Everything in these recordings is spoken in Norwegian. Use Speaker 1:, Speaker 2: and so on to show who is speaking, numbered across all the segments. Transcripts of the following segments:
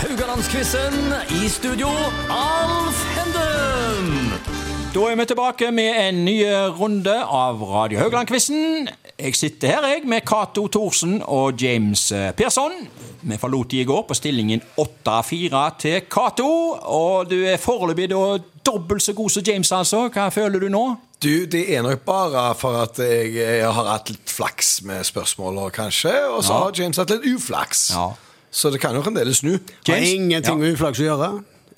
Speaker 1: Haugalandsquizen i studio, Alf Henden!
Speaker 2: Da er vi tilbake med en ny runde av Radio Haugland-quizen. Jeg sitter her jeg, med Cato Thorsen og James eh, Persson. Vi forlot de i går på stillingen 8-4 til Cato. Og du er foreløpig da dobbelt så god som James, altså. Hva føler du nå?
Speaker 3: Du, det er nok bare for at jeg, jeg har hatt litt flaks med spørsmålene, kanskje. Og så
Speaker 2: Ja.
Speaker 3: har James hatt litt uflaks.
Speaker 2: Ja.
Speaker 3: Så det kan jo fremdeles snu.
Speaker 2: Ja.
Speaker 4: Har ingenting med uflaks å gjøre.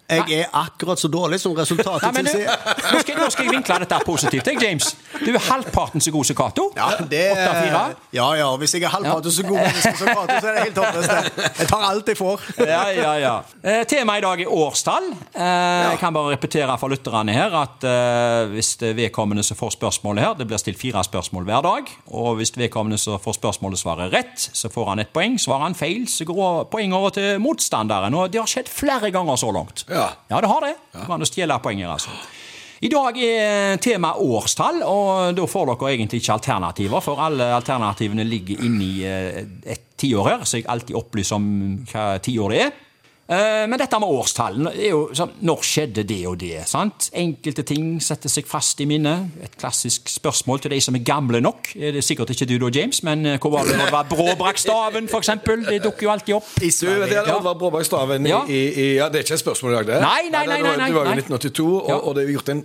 Speaker 4: Jeg er akkurat så dårlig som
Speaker 2: Nei,
Speaker 4: resultatet
Speaker 2: men du,
Speaker 4: tilsier.
Speaker 2: nå, skal, nå skal jeg vinkle dette positivt, jeg, James. Du er halvparten så god som Cato.
Speaker 4: Ja, det,
Speaker 2: 8-4.
Speaker 4: ja, ja, hvis jeg er halvparten så god menneske som prater, så er det helt håpløst. Jeg tar alt jeg får.
Speaker 2: ja, ja, ja. Eh, temaet i dag er årstall. Eh, Jeg kan bare repetere for lytterne her at eh, hvis det er vedkommende som får spørsmålet her, det blir stilt fire spørsmål hver dag, og hvis vedkommende som får spørsmålet svarer rett, så får han et poeng. Svarer han feil, så går poenget over til motstanderen, og det har skjedd flere ganger så langt.
Speaker 3: Ja.
Speaker 2: Ja, det har det. Det går an å stjele poeng her, altså. I dag er tema årstall, og da får dere egentlig ikke alternativer, for alle alternativene ligger inni eh, et tiår her, så jeg alltid opplyser om hva tiår det er. Eh, Men dette med årstall er jo sånn Når skjedde det og det? sant? Enkelte ting setter seg fast i minnet. Et klassisk spørsmål til de som er gamle nok. Er det sikkert ikke du da, James, men eh, hvor var det når det var Bråbrakk-staven, f.eks.? Det dukker jo alltid opp.
Speaker 4: I
Speaker 3: Det
Speaker 4: Sverige.
Speaker 3: er Oddvar Bråberg Staven i,
Speaker 2: Ja.
Speaker 3: i, i Ja, det er ikke et spørsmål i dag, det.
Speaker 2: Nei, nei, nei,
Speaker 3: det var-
Speaker 2: nei, nei,
Speaker 3: Det var jo
Speaker 2: nei.
Speaker 3: 1982, og,
Speaker 2: Ja.
Speaker 3: og det er gjort en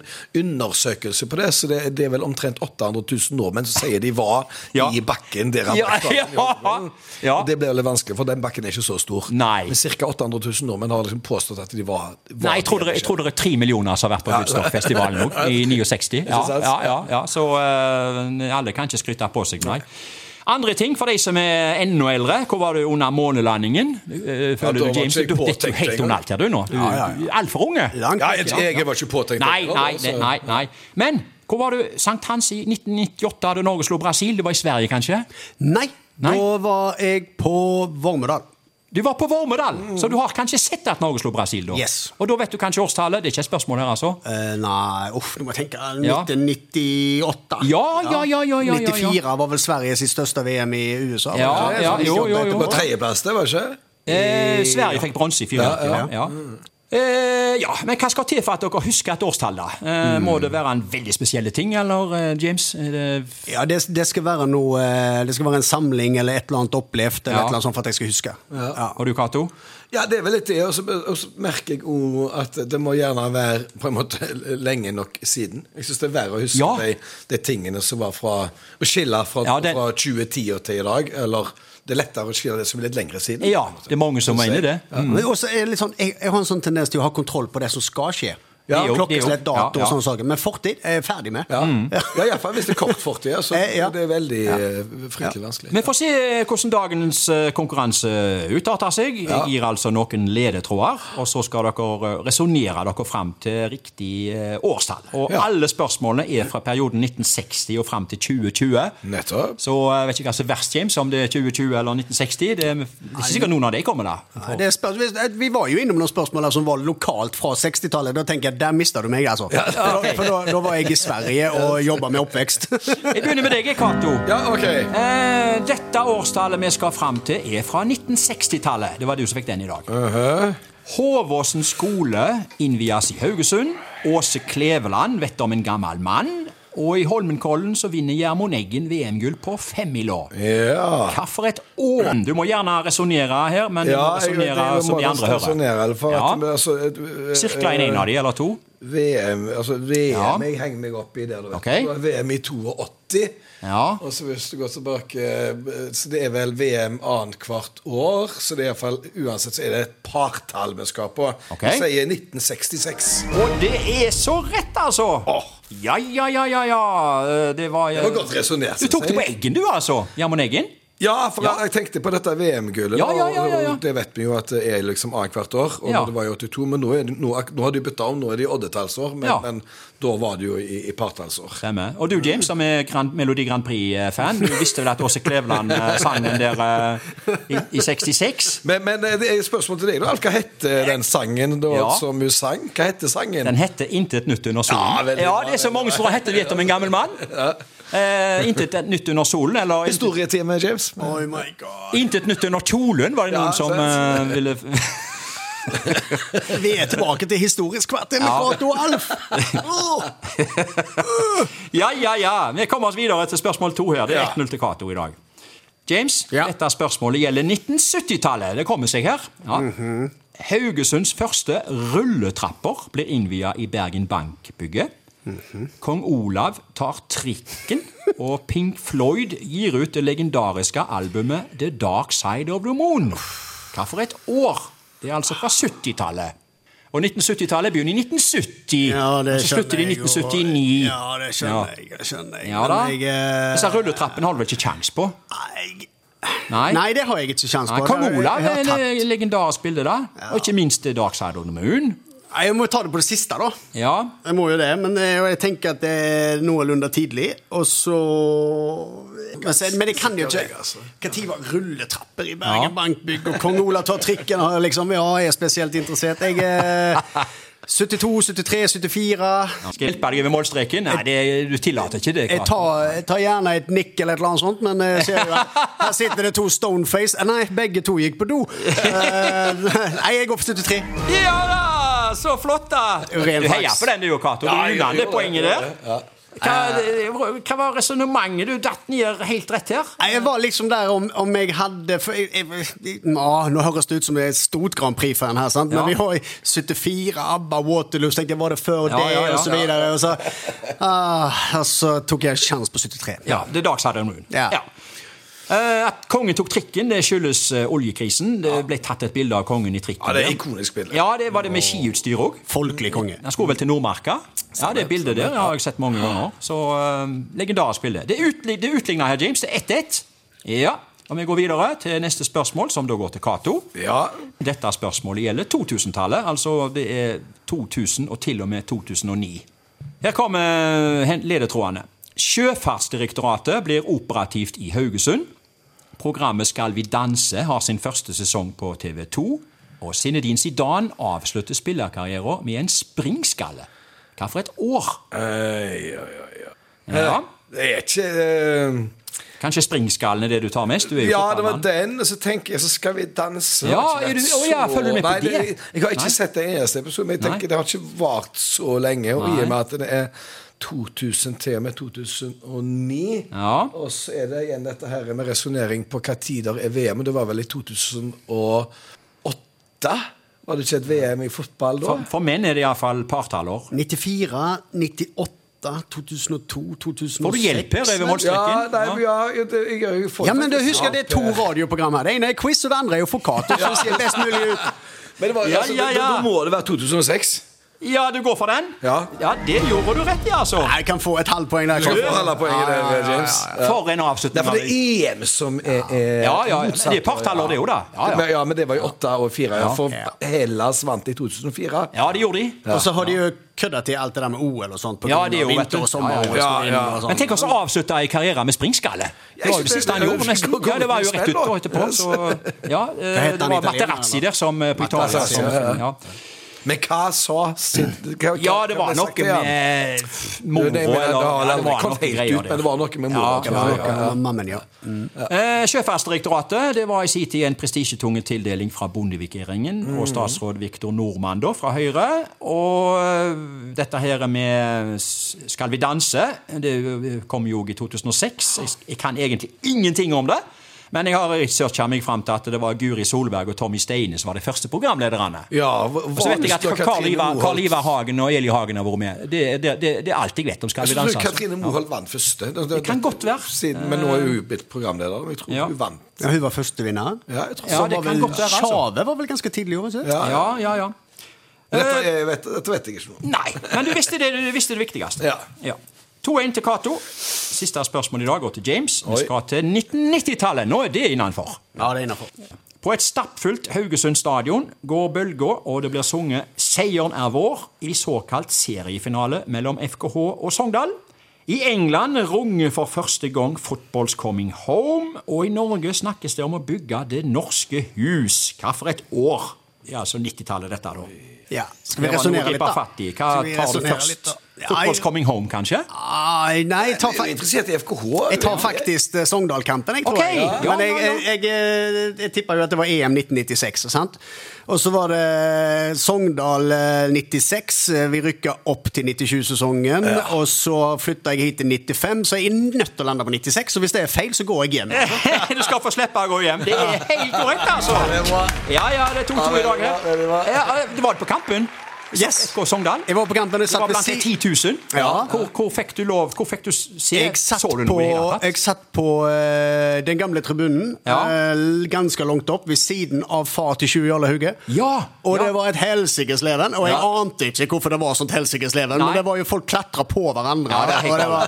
Speaker 3: undersøkelse på det, så det, det er vel omtrent 800 000 nordmenn som sier de var
Speaker 2: Ja.
Speaker 3: i bakken der han
Speaker 2: Ja,
Speaker 3: ble staven i
Speaker 2: ja.
Speaker 3: Oppland.
Speaker 2: Ja.
Speaker 3: Og Det blir veldig vanskelig, for den bakken er ikke så stor.
Speaker 2: Nei.
Speaker 3: Men ca. 800 000 nordmenn har liksom påstått at de var, var
Speaker 2: Nei, jeg tror, det, jeg tror det er tre millioner som har vært på Woodstock-festivalen òg, i 69. Ja,
Speaker 3: Ikke sant?
Speaker 2: ja, ja, ja. Så eh, alle kan ikke skryte på seg, nei. Andre ting for de som er enda eldre. Hvor var du under månelandingen? Eh,
Speaker 3: da
Speaker 2: Føler
Speaker 3: var
Speaker 2: du, James,
Speaker 3: ikke jeg
Speaker 2: du
Speaker 3: påtenkt
Speaker 2: dette er jo helt
Speaker 3: engang.
Speaker 2: under alt her, du nå. Du
Speaker 4: Ja, ja, ja.
Speaker 2: du er altfor unge.
Speaker 4: Langt
Speaker 3: Ja,
Speaker 4: vekk,
Speaker 3: jeg,
Speaker 4: ja.
Speaker 3: jeg var ikke påtenkt.
Speaker 2: Nei,
Speaker 3: heller,
Speaker 2: nei,
Speaker 3: altså.
Speaker 2: det- nei, nei. Men hvor var du sankthans i 1998 da Norge slo Brasil? Det var i Sverige, kanskje?
Speaker 4: Nei,
Speaker 2: Nei.
Speaker 4: da var jeg på Vormedal.
Speaker 2: Du var på Vormedal, så du har kanskje sett at Norge slo Brasil da?
Speaker 4: Yes.
Speaker 2: Og da vet du kanskje årstallet? Det er ikke et spørsmål her, altså?
Speaker 4: Eh, nei, uff, nå må jeg tenke.
Speaker 2: Ja.
Speaker 4: 1998.
Speaker 2: Ja, ja, ja, ja, ja, ja, ja.
Speaker 4: 94 var vel Sveriges største VM i USA. var det
Speaker 2: Ja,
Speaker 4: ikke det?
Speaker 2: ja,
Speaker 4: Som de
Speaker 2: jo,
Speaker 4: jobbet
Speaker 2: jo, jo.
Speaker 3: Det
Speaker 4: etterpå.
Speaker 3: var tredjeplass, det, var ikke?
Speaker 2: Eh, Sverige fikk bronse i 94. Ja,
Speaker 3: Ja,
Speaker 2: ja. Eh, ja, men Hva skal til for at dere husker et årstall? da? Eh, Må det være en veldig spesielle ting, eller eh, James? Er det
Speaker 4: Ja, det, det, skal være noe, eh, det skal være en samling eller et eller annet opplevd eller
Speaker 2: Ja.
Speaker 4: et eller annet sånt for at jeg skal huske. Ja.
Speaker 2: Og du, Cato?
Speaker 3: Ja, det er vel litt det. Og så, og så merker jeg òg at det må gjerne være på en måte lenge nok siden. Jeg syns det er verre å huske
Speaker 2: Ja.
Speaker 3: de, de tingene som var fra Å skille fra,
Speaker 2: Ja, det-
Speaker 3: fra 2010 og til i dag. Eller det er lettere å skille det som er litt lengre siden.
Speaker 2: Ja, det er mange som mener det.
Speaker 4: Men også er det litt sånn, jeg, jeg har en sånn tendens til å ha kontroll på det som skal skje.
Speaker 2: Ja, det er jo- det er jo-
Speaker 4: Klokkeslett, dato
Speaker 2: ja, Mm. ja.
Speaker 4: og sånne saker. Men fortid er jeg ferdig med.
Speaker 3: Ja, ja iallfall hvis det er kort fortid. ja, Så
Speaker 4: Eh, ja.
Speaker 3: det er veldig eh, fryktelig vanskelig.
Speaker 2: Vi får se hvordan dagens eh, konkurranse utarter seg. Jeg gir altså noen ledetråder, og så skal dere eh, resonnere dere fram til riktig eh, årstall. Og
Speaker 3: Ja.
Speaker 2: alle spørsmålene er fra perioden 1960 og fram til 2020.
Speaker 3: Nettopp.
Speaker 2: Så eh, jeg vet ikke hva som er verst, James, om det er 2020 eller 1960. Det er, det er ikke sikkert noen av de kommer, da.
Speaker 4: Nei, Det er spørs- vi- vi var jo innom noen spørsmål her som var lokalt fra 60-tallet. Da tenker jeg, Der mista du meg, altså. For da- For da, da var jeg i Sverige og jobba med oppvekst.
Speaker 2: Jeg begynner med deg, Cato.
Speaker 3: Ja, ok.
Speaker 2: Eh, dette årstallet vi skal fram til, er fra 1960-tallet. Det var du som fikk den i dag. Håvåsen skole innvies i Haugesund. Åse Kleveland vet om en gammel mann. Og i Holmenkollen så vinner Gjermund Eggen VM-gull på femmila.
Speaker 3: Ja.
Speaker 2: Hva for et år? Du må gjerne resonnere her, men du må
Speaker 3: Ja, jeg- jeg-
Speaker 2: resonnere
Speaker 3: jeg
Speaker 2: som
Speaker 3: må
Speaker 2: de andre
Speaker 3: resonere, eller for at-
Speaker 2: hører.
Speaker 3: altså, eh,
Speaker 2: Ja, Cirkla inn en av de, eller to.
Speaker 3: VM, altså VM
Speaker 2: Ja.
Speaker 3: Jeg henger meg opp i det. Du vet.
Speaker 2: Ok.
Speaker 3: Det var VM i 82.
Speaker 2: Ja.
Speaker 3: Og så hvis du går tilbake eh, Så det er vel VM annethvert år. Så det er i hvert fall, uansett så er det et partall vi skal på.
Speaker 2: Ok.
Speaker 3: Vi sier 1966.
Speaker 2: Og det er så rett, altså! Ja, ja, ja, ja, ja. Eh, Det var
Speaker 3: Det var godt eh. resonert.
Speaker 2: Du tok det på eggen, du, altså. Gjermund Eggen.
Speaker 3: Ja, for
Speaker 2: Ja.
Speaker 3: jeg tenkte på dette VM-gullet.
Speaker 2: Ja, ja, ja, ja, ja.
Speaker 3: og Det vet vi jo at det er liksom annethvert år. Og
Speaker 2: Ja.
Speaker 3: det var i 82, men nå, er det, nå, nå har de bytta om. Nå er det i oddetallsår, men,
Speaker 2: Ja.
Speaker 3: men da var det jo i, i partallsår.
Speaker 2: Stemmer. Og du, James, som er Grand, Melodi Grand Prix-fan, du visste vel at Åse Kleveland eh, sang den der eh, i, i 66?
Speaker 3: Men, men eh, det er et spørsmål til deg, da. Alf. Hva heter den sangen da,
Speaker 2: Ja.
Speaker 3: som hun sang? Hva heter sangen?
Speaker 2: Den heter 'Intet nytt under
Speaker 3: Ja,
Speaker 2: solen'.
Speaker 3: veldig
Speaker 2: Ja,
Speaker 3: bra,
Speaker 2: det er så
Speaker 3: veldig
Speaker 2: mange som
Speaker 3: bra.
Speaker 2: har hett det vet om en gammel mann. Eh, 'Intet nytt under solen', eller intet-
Speaker 3: Historietime, James.
Speaker 4: Oh my god.
Speaker 2: 'Intet nytt under kjolen', var det
Speaker 3: Ja,
Speaker 2: noen som
Speaker 3: sant.
Speaker 2: eh, ville
Speaker 4: Vi er tilbake til historisk kvarter med
Speaker 2: Ja.
Speaker 4: Cato og Alf! Åh!
Speaker 2: Ja, ja, ja. Vi kommer oss videre til spørsmål to her. Det er
Speaker 3: Ja.
Speaker 2: 1-0 til Cato i dag. James,
Speaker 4: Ja.
Speaker 2: dette spørsmålet gjelder 1970-tallet. Det kommer seg her. Ja. Haugesunds første rulletrapper blir innvia i Bergen Bank-bygget. Kong Olav tar trikken, og Pink Floyd gir ut det legendariske albumet The Dark Side of the Moon. Hva for et år? Det er altså fra 70-tallet. Og 1970-tallet begynner i 1970, og så slutter det i
Speaker 4: jeg, og-
Speaker 2: 1979.
Speaker 4: Ja, det skjønner jeg. det skjønner jeg.
Speaker 2: Ja da.
Speaker 4: Men jeg, eh,
Speaker 2: Disse rulletrappene har du vel ikke kjangs på?
Speaker 4: jeg
Speaker 2: Nei.
Speaker 4: Nei, det har jeg ikke kjangs
Speaker 2: Nei,
Speaker 4: på.
Speaker 2: Kong
Speaker 4: Det har jeg-
Speaker 2: Olav
Speaker 4: jeg har
Speaker 2: er
Speaker 4: tatt-
Speaker 2: et legendarisk bilde, da. Og ikke minst det Dark Side of the Moon.
Speaker 4: Nei, Jeg må ta det på det siste, da.
Speaker 2: Ja.
Speaker 4: Jeg må jo det, men eh, jeg tenker at det er noenlunde tidlig, og så Men, så- men det kan jo ikke Når var rulletrapper i Bergen
Speaker 2: Ja.
Speaker 4: Bankbygg, og kong Olav tar trikken og liksom Ja, jeg er spesielt interessert. Jeg eh, er 72, 73, 74
Speaker 2: Skal jeg hjelpe deg over målstreken? Nei, det, du tillater ikke det.
Speaker 4: Jeg
Speaker 2: Karsten.
Speaker 4: tar, jeg tar gjerne et nikk eller et eller annet sånt, men eh, ser jo her, her sitter det to stoneface Eh, Nei, begge to gikk på do. Eh, nei, jeg går for 73.
Speaker 2: Ja da! Så flott, da! Du
Speaker 4: Ren
Speaker 2: heier
Speaker 4: flaks.
Speaker 2: på den, du, Cato. Du
Speaker 3: Ja, jeg
Speaker 2: unna det
Speaker 3: gjorde
Speaker 2: poenget
Speaker 3: det,
Speaker 2: der. Hva, hva var resonnementet? Du datt ned helt rett her.
Speaker 4: Nei, Jeg var liksom der om, om jeg hadde for jeg, jeg, jeg, ah, Nå høres det ut som jeg er et stort Grand Prix-fan her, sant? men
Speaker 2: Ja.
Speaker 4: vi har jo 74, ABBA, Waterloo, så tenkte jeg var det før
Speaker 2: Ja,
Speaker 4: det,
Speaker 2: ja, ja.
Speaker 4: og så videre. Og så, ah, og så tok jeg en sjanse på 73.
Speaker 2: Ja, det er Dark Side of the Moon.
Speaker 4: Ja.
Speaker 2: Eh, at kongen tok trikken, det skyldes eh, oljekrisen. Det ble tatt et bilde av kongen i trikken.
Speaker 3: Ja, det er
Speaker 2: der.
Speaker 3: ikonisk bilde.
Speaker 2: Ja, det var det med skiutstyr òg.
Speaker 4: Folkelig konge.
Speaker 2: Han skulle vel til Nordmarka. Ja, Det bildet der har jeg sett mange ganger. Så eh, legendarisk bilde. Det er utli- det er utligna her, James. Det er 1-1. Ja. Og Vi går videre til neste spørsmål, som da går til Cato.
Speaker 3: Ja.
Speaker 2: Dette spørsmålet gjelder 2000-tallet. Altså det er 2000 og til og med 2009. Her kommer hen- ledetrådene. Sjøfartsdirektoratet blir operativt i Haugesund. Programmet Skal vi danse har sin første sesong på TV 2. Og Zinedine Zidane avslutter spillerkarrieren med en springskalle. Hva for et år?
Speaker 3: Ei, oi, oi, oi.
Speaker 2: Ja.
Speaker 3: Det er ikke eh,
Speaker 2: Kanskje springskallen er det du tar mest? Du er jo
Speaker 3: Ja, det
Speaker 2: fotballmann.
Speaker 3: var den, og så tenker jeg, så skal vi danse.
Speaker 2: Ja,
Speaker 3: Har ikke
Speaker 2: er du-
Speaker 3: vært
Speaker 2: å, ja,
Speaker 3: så-
Speaker 2: følger du med på
Speaker 3: Nei,
Speaker 2: det?
Speaker 3: Jeg har ikke
Speaker 2: Nei.
Speaker 3: sett den eneste episoden, men jeg
Speaker 2: Nei.
Speaker 3: tenker det har ikke vart så lenge. Og i
Speaker 2: Nei.
Speaker 3: og med at det er 2000 til og med 2009,
Speaker 2: Ja.
Speaker 3: og så er det igjen dette her med resonnering på hva tider er VM, og det var vel i 2008? Var det ikke et VM i fotball da?
Speaker 2: for, for menn er det iallfall partallår.
Speaker 4: 94, 98, 2002, 2006
Speaker 2: Får du hjelp her over
Speaker 3: Ja,
Speaker 2: målstreken?
Speaker 3: nei, men ja, jeg, jeg, jeg, jeg får
Speaker 4: Ja, men du
Speaker 3: faktisk-
Speaker 4: husker det er to radioprogram her. Det ene er quiz, og det andre er jo Focato. Så det ser best mulig ut.
Speaker 3: Men det var,
Speaker 2: Ja,
Speaker 3: altså,
Speaker 2: ja,
Speaker 3: da-
Speaker 2: ja.
Speaker 3: Da, da må det være 2006.
Speaker 2: Ja, du går for den?
Speaker 3: Ja.
Speaker 2: det gjorde du rett i, altså.
Speaker 4: Jeg kan få et halvt poeng der.
Speaker 3: Du
Speaker 4: Kristoffer.
Speaker 3: får alle poenget der, James.
Speaker 2: For en
Speaker 3: Nei,
Speaker 2: avslutning.
Speaker 3: Eh, for det
Speaker 2: Marie.
Speaker 3: er EM som er, er
Speaker 2: Ja, ja,
Speaker 3: motsatt,
Speaker 2: det er partallår, det jo da. Ja, ja.
Speaker 3: Men, ja, men det var i åtte og fire. Ja, for
Speaker 4: Ja.
Speaker 3: Hellas vant i 2004.
Speaker 2: Ja, det gjorde de.
Speaker 4: Og så har de jo kødda til alt det der med OL og sånt. På
Speaker 2: Ja,
Speaker 4: grunn av
Speaker 2: det er jo, vet du.
Speaker 4: vinter- og sommer-
Speaker 2: Ja,
Speaker 4: og
Speaker 3: ja,
Speaker 4: OL
Speaker 3: ja.
Speaker 4: og sånt.
Speaker 2: Men tenk oss
Speaker 3: Sånn.
Speaker 2: å avslutte ei karriere med springskalle. Det var jo det siste han gjorde, nesten. Ja, det var jo rett utpå etterpå. Så, ja, eh, det var Materazzi der som eh, på Italia.
Speaker 3: Materazzi,
Speaker 2: som-
Speaker 3: ja,
Speaker 2: Ja.
Speaker 3: Men hva sa sin, hva, hva,
Speaker 2: ja, det var
Speaker 3: hva ble
Speaker 2: noe
Speaker 3: sagt til han?
Speaker 2: med moro
Speaker 3: Det- det- men-
Speaker 2: eller
Speaker 3: ja,
Speaker 2: ja,
Speaker 3: det
Speaker 2: det var
Speaker 3: kom
Speaker 2: noe
Speaker 3: helt
Speaker 2: greier
Speaker 3: ut, men
Speaker 2: der.
Speaker 3: det var noe med moro,
Speaker 2: Ja,
Speaker 3: det
Speaker 2: ja,
Speaker 3: var
Speaker 2: ja.
Speaker 3: noe-
Speaker 4: Ja, Mammen, ja.
Speaker 2: Eh, Sjøfartsdirektoratet det var i sin tid en prestisjetunge tildeling fra Bondevik-regjeringen
Speaker 3: Mm.
Speaker 2: og statsråd Viktor Nordmann da, fra Høyre. Og eh, dette her med s- Skal vi danse? Det eh, kom jo i 2006. Jeg, s- jeg kan egentlig ingenting om det. Men jeg har researcha meg fram til at det var Guri Solberg og Tommy Steine som var de første programlederne.
Speaker 3: Ja,
Speaker 2: Og så vet jeg at Karl Ivar, Karl Ivar Hagen og Eli Hagen har vært med. Det, det, det, det er alt jeg vet om Skal vi danse. altså.
Speaker 3: Katrine Moholt vant første. Det, det,
Speaker 2: kan godt være.
Speaker 3: Siden, men nå er hun blitt programleder. men Jeg tror
Speaker 2: Ja.
Speaker 3: hun vant.
Speaker 4: Ja, Hun var førstevinneren.
Speaker 3: Ja, jeg tror sånn.
Speaker 2: Ja,
Speaker 4: Så
Speaker 2: det
Speaker 4: var
Speaker 2: kan
Speaker 4: vel-
Speaker 2: godt være, altså.
Speaker 4: Tjave var vel ganske tidlig i år? ikke?
Speaker 3: Ja,
Speaker 2: Ja, ja, ja.
Speaker 3: Dette, jeg vet, dette vet jeg ikke noe om.
Speaker 2: Nei, men du visste det, du visste det viktigste.
Speaker 3: Ja.
Speaker 2: 2-1 til Cato. Siste spørsmål i dag går til James. Vi
Speaker 3: Oi.
Speaker 2: skal til 1990-tallet. Nå er det innenfor.
Speaker 4: Ja, det er innafor.
Speaker 2: På et stappfullt Haugesund stadion går bølga, og det blir sunget 'Seieren er vår' i såkalt seriefinale mellom FKH og Sogndal. I England runger for første gang 'Football's Coming Home', og i Norge snakkes det om å bygge Det norske hus. Hva for et år? Ja, altså 90-tallet, dette, da.
Speaker 4: Ja. Skal vi
Speaker 2: Det var noe å
Speaker 4: resonnere litt,
Speaker 2: gripe
Speaker 4: da?
Speaker 2: fatt i. Hva
Speaker 4: Skal vi
Speaker 2: tar du
Speaker 4: resonnere
Speaker 2: først?
Speaker 4: litt, da?
Speaker 2: Fotballs coming home, kanskje?
Speaker 4: Ai, nei, jeg tar,
Speaker 3: Er du
Speaker 4: fa-
Speaker 3: interessert i FKH?
Speaker 4: jeg tar faktisk eh, Sogndal-kampen, jeg tror
Speaker 2: Ok,
Speaker 4: jeg.
Speaker 2: ja,
Speaker 4: Men jeg,
Speaker 2: ja, ja.
Speaker 4: jeg, jeg, eh, jeg tippa jo at det var EM 1996, sant? Og så var det Sogndal eh, 96. eh, Vi rykka opp til 97-sesongen. Og så flytta jeg hit til 95, så jeg er nødt til å lande på 96. Og hvis det er feil, så går jeg hjem.
Speaker 2: du skal få slippe å gå hjem. Det er helt korrekt, altså. Ja, ja, det er 2-2 i dag.
Speaker 3: Ja, det er bra.
Speaker 2: her. Ja, det var det på Kampen.
Speaker 4: Yes.
Speaker 2: FK Sogndal.
Speaker 4: Jeg var på kampen og
Speaker 2: Det
Speaker 4: satt
Speaker 2: var
Speaker 4: ved
Speaker 2: blant de
Speaker 4: si-
Speaker 2: 10 000.
Speaker 4: Ja.
Speaker 2: Hvor, hvor fikk du lov Hvor fikk du se
Speaker 4: Jeg satt
Speaker 2: Så du
Speaker 4: på,
Speaker 2: noe i det hele tatt?
Speaker 4: jeg satt på eh, den gamle tribunen,
Speaker 2: Ja.
Speaker 4: eh, ganske langt opp, ved siden av far til Tjue Jarle Hauge.
Speaker 2: Ja,
Speaker 4: Og
Speaker 2: ja.
Speaker 4: det var et helsikes leven, og jeg
Speaker 2: Ja.
Speaker 4: ante ikke hvorfor det var sånt helsikes leven,
Speaker 2: Nei.
Speaker 4: men det var jo folk klatra på hverandre.
Speaker 2: Ja, det er helt
Speaker 4: og det var,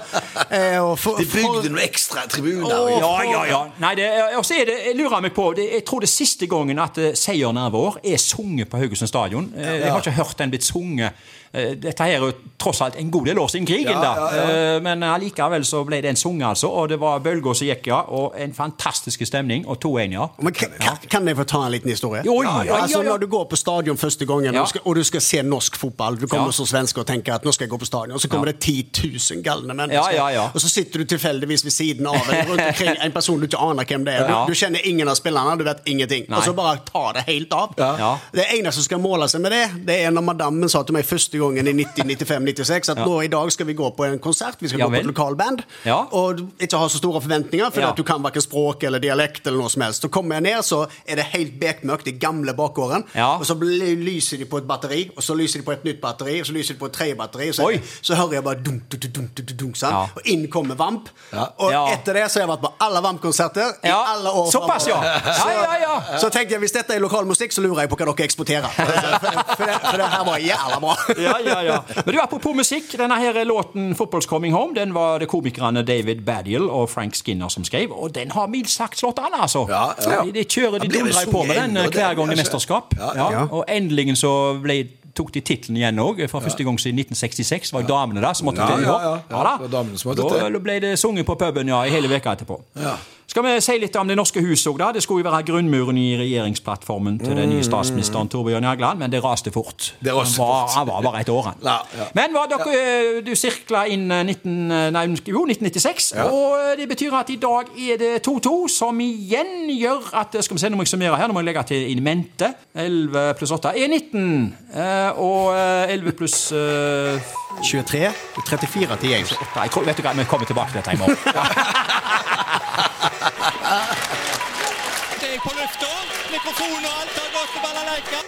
Speaker 4: eh, og for,
Speaker 3: De
Speaker 4: for-
Speaker 3: bygde noen ekstra tribuner.
Speaker 2: Ja,
Speaker 3: og-
Speaker 2: ja, ja. Nei, det, er- og så er det, jeg lurer meg på det, Jeg tror det er siste gangen at eh, 'Seieren er vår' er sunget på Haugesund stadion. Eh, Jeg har ikke hørt den blitt sunget. Eh, Dette her er jo tross alt en god del år siden krigen,
Speaker 3: Ja,
Speaker 2: da.
Speaker 3: ja, ja.
Speaker 2: Eh, Men allikevel så ble den sunget, altså. Og det var bølger som gikk, ja. Og en fantastisk stemning. Og to enere.
Speaker 4: Men kan, kan- kan jeg få ta en liten historie?
Speaker 2: Jo, ja, ja,
Speaker 4: altså,
Speaker 2: ja, ja.
Speaker 4: Når du går på stadion første gangen,
Speaker 2: Ja.
Speaker 4: og, du skal, og du skal se norsk fotball Du kommer
Speaker 2: Ja.
Speaker 4: som svenske og tenker at nå skal jeg gå på stadion, og så kommer
Speaker 2: Ja.
Speaker 4: det 10 000 galne mennesker.
Speaker 2: Ja, ja, ja.
Speaker 4: Og så sitter du tilfeldigvis ved siden av en, rundt omkring, en person du ikke aner hvem det er. Du,
Speaker 2: Ja.
Speaker 4: du kjenner ingen av spillerne, du vet ingenting.
Speaker 2: Nei.
Speaker 4: Og så bare tar det helt av.
Speaker 2: Ja.
Speaker 4: Det eneste som skal måle seg med det, det er når madammen sa til meg første gangen i 90-95-96 at nå i dag skal vi gå på en konsert, vi skal
Speaker 2: Ja
Speaker 4: gå på
Speaker 2: vel.
Speaker 4: et lokalband,
Speaker 2: Ja.
Speaker 4: og du ikke ha så store forventninger, for
Speaker 2: Ja.
Speaker 4: at du kan verken språk eller dialekt eller noe som helst. Så kommer jeg ned, så er det helt bekmørkt i gamle bakgården,
Speaker 2: Ja.
Speaker 4: og så bl- lyser de på et batteri, og så lyser de på et nytt batteri, og så lyser de på et tredje batteri, og så,
Speaker 2: Oi.
Speaker 4: så hører jeg bare dunk, dunk, dunk, dunk, dunk, dunk, sant?
Speaker 2: Ja.
Speaker 4: og inn kommer Vamp. Og
Speaker 2: Ja.
Speaker 4: etter det så har jeg vært på alle Vamp-konserter i
Speaker 2: Ja.
Speaker 4: alle år.
Speaker 2: Såpass, ja.
Speaker 4: fremover.
Speaker 2: Ja, ja, ja.
Speaker 4: Så, så tenkte jeg, hvis dette er lokal musikk, så lurer jeg på hva dere eksporterer. For, for, det, for det her var jævla bra.
Speaker 2: ja, ja, ja. Men du, apropos musikk. Denne her låten 'Football's Coming Home' Den var det komikerne David Baddiel og Frank Skinner som skrev. Og den har mildt sagt slått an, altså.
Speaker 3: Ja, ja.
Speaker 2: De, de kjører de
Speaker 3: Den blir vel
Speaker 2: dundrer på med
Speaker 3: sunget
Speaker 2: den
Speaker 3: ennå,
Speaker 2: eh, hver
Speaker 3: den,
Speaker 2: gang det er
Speaker 3: altså.
Speaker 2: mesterskap.
Speaker 3: Ja,
Speaker 2: Ja. Og endelig så ble tok de tittelen igjen òg, for første gang siden 1966. var jo damene der som måtte
Speaker 3: Ja,
Speaker 2: til. i
Speaker 3: ja,
Speaker 2: år.
Speaker 3: ja, ja,
Speaker 2: da.
Speaker 3: det var damene som måtte
Speaker 2: da,
Speaker 3: til.
Speaker 2: da ble det sunget på puben ja, i hele veka etterpå. Skal vi si litt om Det norske hus òg, da? Det skulle jo være grunnmuren i regjeringsplattformen til den nye statsministeren Torbjørn Jagland, men det raste fort.
Speaker 3: Mm. Det raste
Speaker 2: han, var,
Speaker 3: fort.
Speaker 2: han var bare et år, han.
Speaker 3: Ja, ja.
Speaker 2: Men hva dere, eh, du sirkla inn eh, 19, eh, nei, jo, 1996, og eh, det betyr at i dag er det 2-2, som igjen gjør at eh, Skal vi se, nå må jeg summere her, nå må jeg legge til in mente. 11 pluss 8 er 19, eh, og eh, 11 pluss eh,
Speaker 4: 23, 34 til jeg.
Speaker 2: Nei, jeg tror, vet du hva, vi kommer tilbake til dette i morgen.
Speaker 5: Det er på lufta. Mikrofonen og alt har gått til balalaika.